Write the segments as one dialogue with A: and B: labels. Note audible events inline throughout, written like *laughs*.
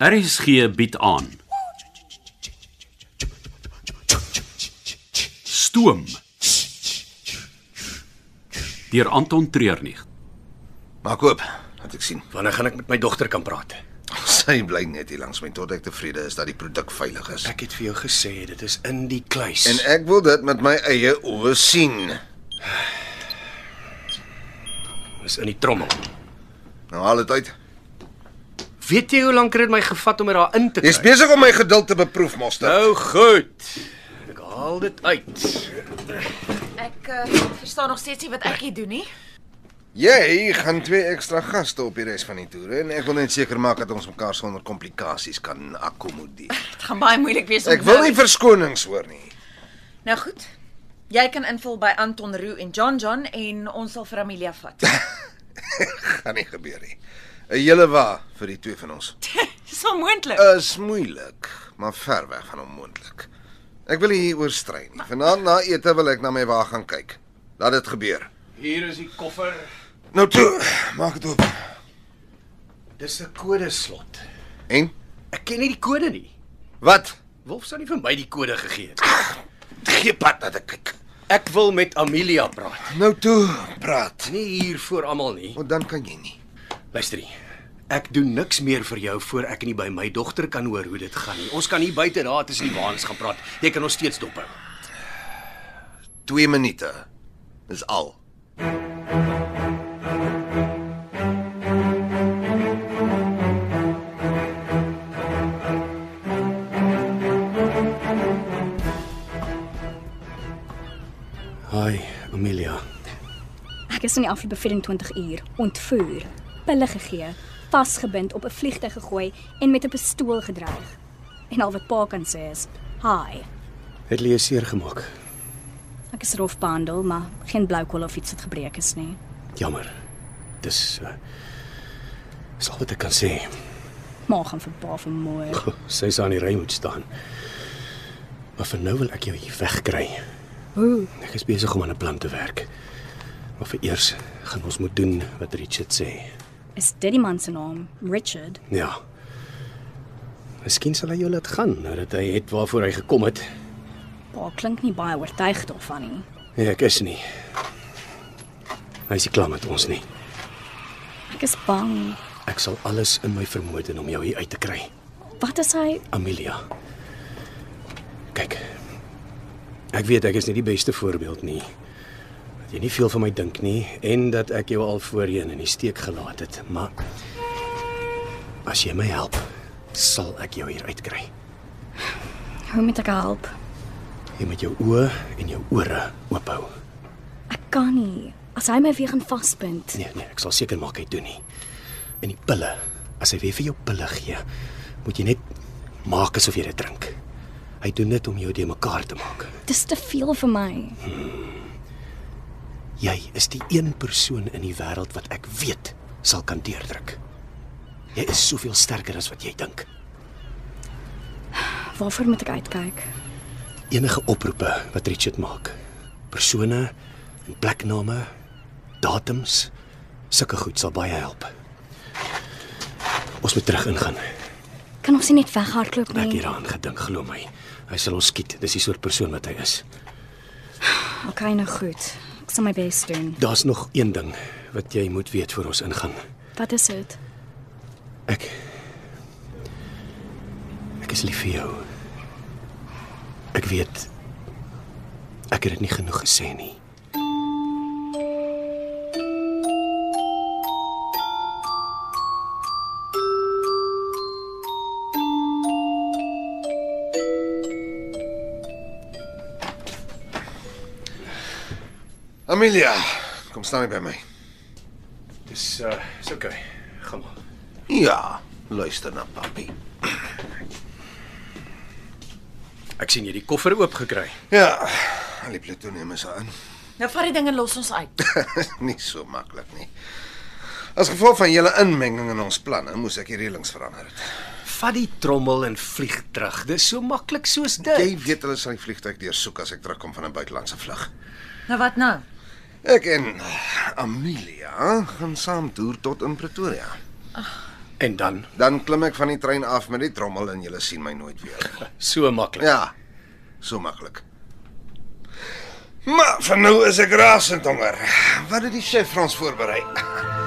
A: RSG bied aan. Stoom. Deur Anton Treurnig.
B: Maak oop, laat ek sien.
C: Wanneer gaan ek met my dogter kan praat?
B: *laughs* Sy bly net hier langs my tot ek tevrede is dat die produk veilig is.
C: Ek het vir jou gesê dit is in die kluis.
B: En ek wil dit met my eie oë sien.
C: is in die trommel.
B: Nou haal dit uit.
C: Weet jy hoe lank het dit my gevat om dit daar in te kry?
B: Jy's besig om my geduld te beproef, Monster.
C: Nou goed. Ek haal dit uit.
D: Ek uh, verstaan nog steeds nie wat ek hier doen nie.
B: Jy gaan twee ekstra gaste op die res van die toer en ek wil net seker maak dat ons mekaar sonder komplikasies kan akkommodeer.
D: Dit gaan baie moeilik wees om
B: Ek wil
D: nou-
B: nie verskonings hoor nie.
D: Nou goed. Jy kan invul by Anton Roo en John John en ons sal vir Amelia vat.
B: Gaan nie gebeur nie. 'n Hele wa vir die twee van ons.
D: Dis onmoontlik.
B: Is moeilik, maar ver weg van onmoontlik. Ek wil hier oorstrei nie. Vanaand na ete wil ek na my wa gaan kyk. Laat dit gebeur.
C: Hier is die koffer.
B: Nou toe, maak dit oop.
C: Dis 'n kodeslot.
B: En
C: Ek ken nie die kode nie.
B: wat?
C: Wolf sou nie vir my die kode gegee het.
B: Gee pad dat ek kyk.
C: Ek wil met Amelia praat.
B: Nou toe, praat.
C: Nie hier voor almal nie.
B: Want dan kan jy nie.
C: Luister hier. Ek doen niks meer vir jou voor ek nie by my dogter kan hoor hoe dit gaan nie. Ons kan hier buite daar tussen die waans gaan praat. Jy kan ons steeds dophou.
B: 2 minute. Dis al.
C: Hi, Amelia.
E: Ek is in die afgelope 24 uur ontvoer, pille gegee, vasgebind op 'n vliegtuig gegooi en met 'n pistool gedreig. En al wat pa kan sê is: "Hi."
C: Het jy seer gemaak?
E: Ek is rof behandel, maar geen blou kol of iets wat gebreek is nie.
C: Jammer. Dis uh, is al wat ek kan sê. *laughs*
E: Ma gaan vir pa vermoor.
C: Sy staan in die ry moet staan. Maar vir nou wil ek jou hier wegkry.
E: Hoe?
C: Ek is besig om aan 'n plan te werk. Maar vir eers gaan ons moet doen wat Richard sê.
E: Is dit die man se naam? Richard.
C: Ja. Miskien sal hy jou laat gaan nadat hy het waarvoor hy gekom het.
E: Pa klink nie baie oortuig daarvan nie.
C: Nee, ek is nie. Hy is nie klaar met ons nie.
E: Ek is bang.
C: Ek sal alles in my vermoë doen om jou hier uit te kry.
E: Wat as hy
C: Amelia. Kyk. Ek weet ek is nie die beste voorbeeld nie. Dat jy nie veel van my dink nie en dat ek jou al voorheen in die steek gelaat het, maar as jy my help, sal ek jou hier uitkry.
E: hoe moet ek help?
C: Jy moet jou oë en jou ore oop hou.
E: Ek kan nie. As hy my weer gaan vaspind.
C: Nee, nee, ek sal seker maak hy doen nie. En die pille, as hy weer vir jou pille gee, moet jy net maak asof jy dit drink. Hy doen dit om jou de mekaar te maak.
E: Dis te veel vir my.
C: Jy is die een persoon in die wêreld wat ek weet sal kan deurdruk. Jy is soveel sterker as wat jy dink.
E: Waarvoor moet ek uitkyk?
C: Enige oproepe wat Richard maak, persone en plekname, datums, sulke goed sal baie help. Ons moet terug ingaan.
E: Kan ons nie net weghardloop
C: Ek
E: nie?
C: het daaraan gedink, glo my. Hy sal ons skiet. Dis die soort persoon wat hy is.
E: Okay, nou goed. Ek sal my bes doen.
C: Daar's nog een ding wat jy moet weet voor ons ingaan.
E: Wat is dit?
C: Ek Ek is lief vir jou. Ek weet ek het dit nie genoeg gesê nie.
B: Amelia, kom staan hier by my.
C: Dis uh is okay. Gaan maar.
B: Ja, luister na papi.
C: Ek sien jy het die koffer oop gekry.
B: Ja, al die plutonium is aan.
D: Nou vat die ding en los ons uit.
B: *laughs* nie so maklik nie. As gevolg van julle inmenging in ons planne, moes ek die reëlings verander het.
C: Vat die trommel en vlieg terug. Dis so maklik soos dit.
B: Jy weet hulle sal die vliegtyg deursoek as ek terugkom van 'n buitelandse vlug.
D: nou wat nou?
B: Ek en Amelia gaan saam toer tot in Pretoria.
C: En dan
B: Dan klim ek van die trein af met die trommel en julle sien my nooit weer.
C: *laughs*
B: nie.
C: so maklik.
B: Ja. So maklik. Maar vir nou is ek rasend honger. Wat het die chef vir ons voorberei? *laughs*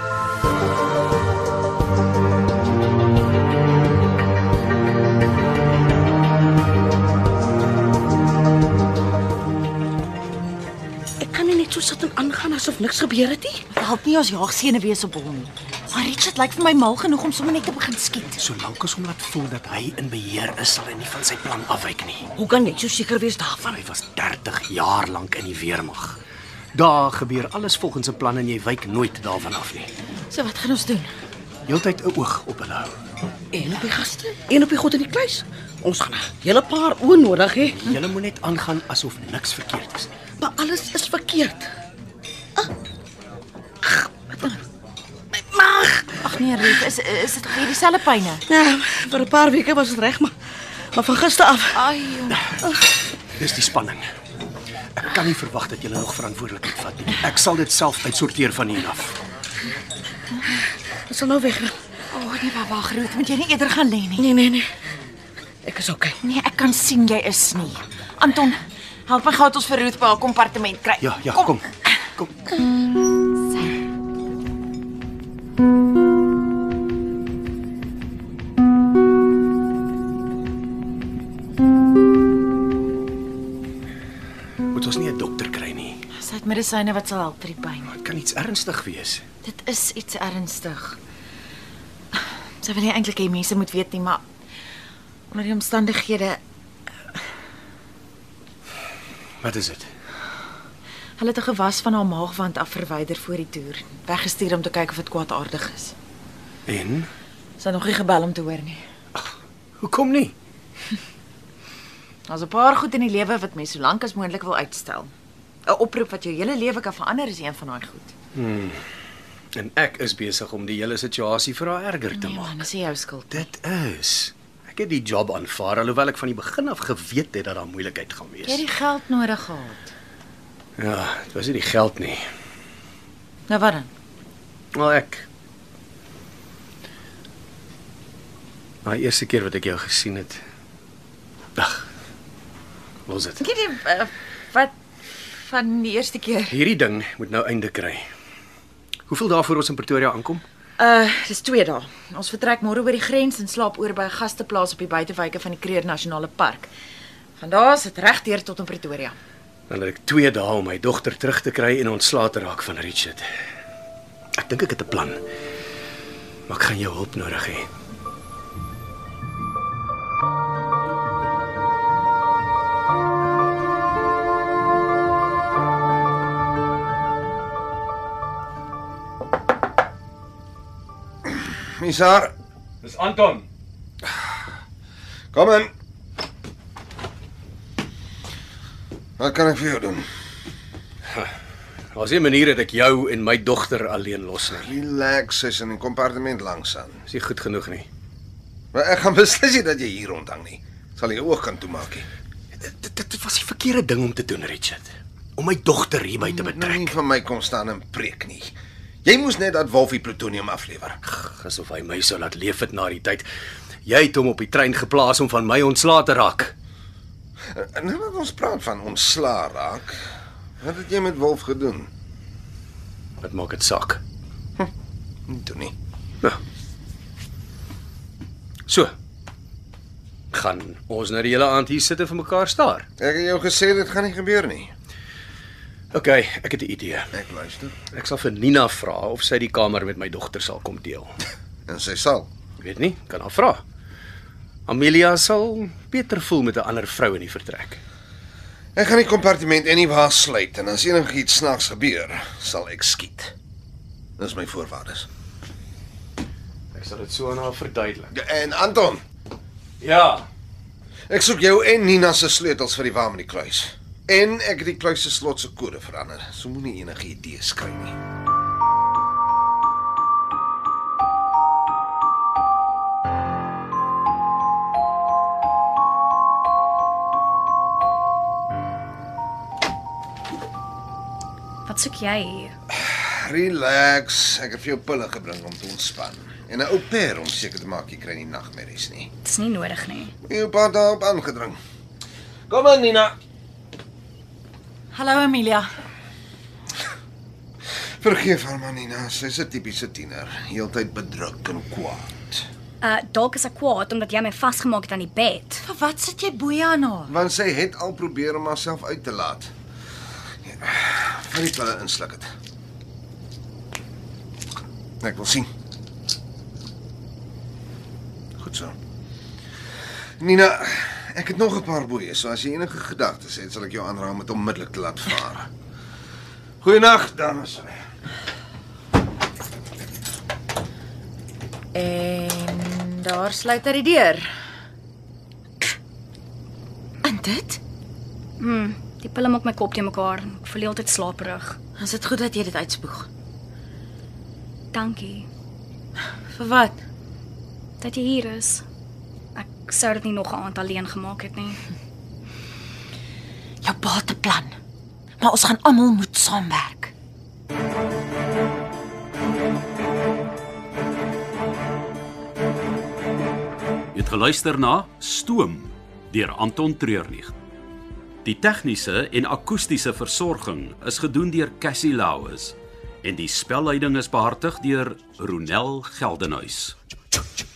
F: Ek kan nie net so sit en aangaan asof niks gebeur het nie.
G: Help nie ons jaag seene wees op hom nie. Maar Richard lyk vir my mal genoeg om sommer net te begin skiet.
C: Solank as hom laat voel dat hy in beheer is, sal hy nie van sy plan afwyk nie.
G: Hoe kan ek so seker wees daarvan?
C: Hy was 30 jaar lank in die weermag. Daar gebeur alles volgens 'n plan en jy wyk nooit daarvan af nie.
G: So wat gaan ons doen?
C: Heeltyd 'n oog op hulle hou.
F: En op die gaste, en op die goed in die kluis. Ons gaan 'n hele paar oë nodig hê.
C: Jy moet net aangaan asof niks verkeerd is.
F: Maar alles is verkeerd. Ag, wat dan? My maag.
G: Ag nee, Riet, is is dit weer dieselfde pyne?
F: Ja, vir 'n paar weke was dit reg, maar maar van gister af.
G: Ai.
C: Dis die spanning. Ek kan nie verwag dat jy nog verantwoordelikheid vat nie. Ek sal dit self uitsorteer van hier af.
F: Dit sal nou weg.
G: O oh, nee, maar wag, Riet, moet jy nie eerder gaan lê nie.
F: Nee, nee, nee. Ek is okay.
G: Nee, ek kan sien jy is nie. Anton, help my gou dat ons vir Ruth by haar kompartement kry.
C: Ja, ja, kom. Kom. Moet ons nie 'n dokter kry nie.
G: Sy het medisyne wat sal help vir die pyn.
C: Dit kan iets ernstig wees.
G: Dit is iets ernstig. Sy wil nie eintlik hê mense moet weet nie, maar onder die omstandighede,
C: Wat is dit?
G: hulle het 'n gewas van haar maagwand af verwyder voor die toer, weggestuur om te kyk of dit kwaadaardig is.
C: En
G: Sy het nog nie gebel om te hoor nie.
C: hoekom nie?
G: Daar's 'n paar goed in die lewe wat mens so lank as moontlik wil uitstel. 'n Oproep wat jou hele lewe kan verander is een van daai goed.
C: En ek is besig om die hele situasie vir haar erger te
G: Nee
C: maak.
G: man, dis nie jou skuld. nie.
C: Dit is. Ek het die job aanvaar alhoewel ek van die begin af geweet het dat daar moeilikheid gaan
G: Jy het die
C: wees.
G: geld nodig gehad.
C: Ja, dit was nie die geld nie.
G: Nou wat dan?
C: Wel ek. Maar eerste keer wat ek jou gesien het. Ag. Los dit.
G: Ek weet nie uh, wat van die eerste keer.
C: Hierdie ding moet nou einde kry. Hoeveel dae voor ons in Pretoria aankom?
G: Uh, dis 2 dae. Ons vertrek môre oor die grens en slaap oor by 'n gasteplaas op die buitewyke van die Kruger Nasionale Park. Van daar is dit regdeur tot in Pretoria.
C: Dan het ek 2 dae om my dogter terug te kry en ontslae te raak van Richard. Ek dink ek het 'n plan. Maar ek gaan jou hulp nodig hê.
B: Misar,
H: Dis Anton.
B: kom in. Wat kan ek vir jou doen?
C: Daar's nie 'n manier dat ek jou en my dogter alleen los nie.
B: Relax, sy's in die kompartement langs aan.
C: Dis nie goed genoeg nie.
B: Maar ek gaan beslis nie dat jy hier rondhang nie. Sal jy jou oog kan toemaak nie.
C: Dit- Dit dit was die verkeerde ding om te doen, Richard. Om my dogter hierby te
B: Nou nie
C: betrek.
B: van my kom staan en preek nie. Jy moes net dat Wolfie plutonium aflewer.
C: Ag, Asof hy my sou laat leef het na die tyd. Jy het hom op die trein geplaas om van my ontslae te raak.
B: En nou wat ons praat van ontslaa raak. Wat het jy met Wolf gedoen?
C: Wat maak dit saak?
B: Nie toe nie.
C: Nou. So. Gaan ons nou die hele aand hier sit en vir mekaar staar.
B: Ek het jou gesê dit gaan nie gebeur nie.
C: OK, ek het 'n idee.
B: Ek luister.
C: Ek sal vir Nina vra of sy die kamer met my dogter sal kom deel.
B: En sy sal.
C: Ek weet nie, kan haar vra. Amelia sal beter voel met 'n ander vrou in die vertrek.
B: Ek gaan die kompartement eniwaar sluit en as enigiets snaaks gebeur, sal ek skiet. Dis my voorwaardes.
C: Ek sal dit so aan haar verduidelik.
B: Ja, En Anton,
C: Ja.
B: ek soek jou en Nina se sleutels vir die wa met die kluis. En ek het die kluis se slot se kode verander. So moenie enige idees kry nie.
E: Wat soek jy hier?
B: Relax, ek het vir jou pille gebring om te ontspan. En 'n ou per om seker te maak jy kry nie nagmerries nie.
E: Dit's nie nodig nie.
B: Jou pa het daarop aangedring. Kom aan Nina.
G: Hallo Amelia.
B: Vergeef haar maar Nina, sy's 'n tipiese tiener, heeltyd bedruk en kwaad.
E: Uh dalk is ek kwaad omdat jy my vasgemaak het aan die bed.
G: Vir wat sit jy boeie aan haar?
B: Want sy het al probeer om haarself uit te laat. Ja, Vat die pille insluk dit. Ek wil sien. Goed so. Nina, ek het nog 'n paar boeie, so as jy enige gedagtes het, sal ek jou aanraai om dit onmiddellik te laat vaar. Goeienaand, dames.
G: En daar sluit hy die deur. En dit?
E: Hm, die pille maak my kop te mekaar. Ek voel heeltyd slaperig.
G: Is dit goed dat jy dit uitspoeg?
E: Dankie
G: Vir wat?
E: dat jy hier is. Ek sou dit nie nog 'n aand alleen gemaak het nie.
G: Jou pa te plan. Maar ons gaan almal moet saamwerk.
A: Jy het geluister na Stoom deur Anton Treurnig. Die tegniese en akoestiese versorging is gedoen deur Cassie Lauis en die spelleiding is behartig deur Ronel Geldenhuys.
C: Tjoe, tjoe.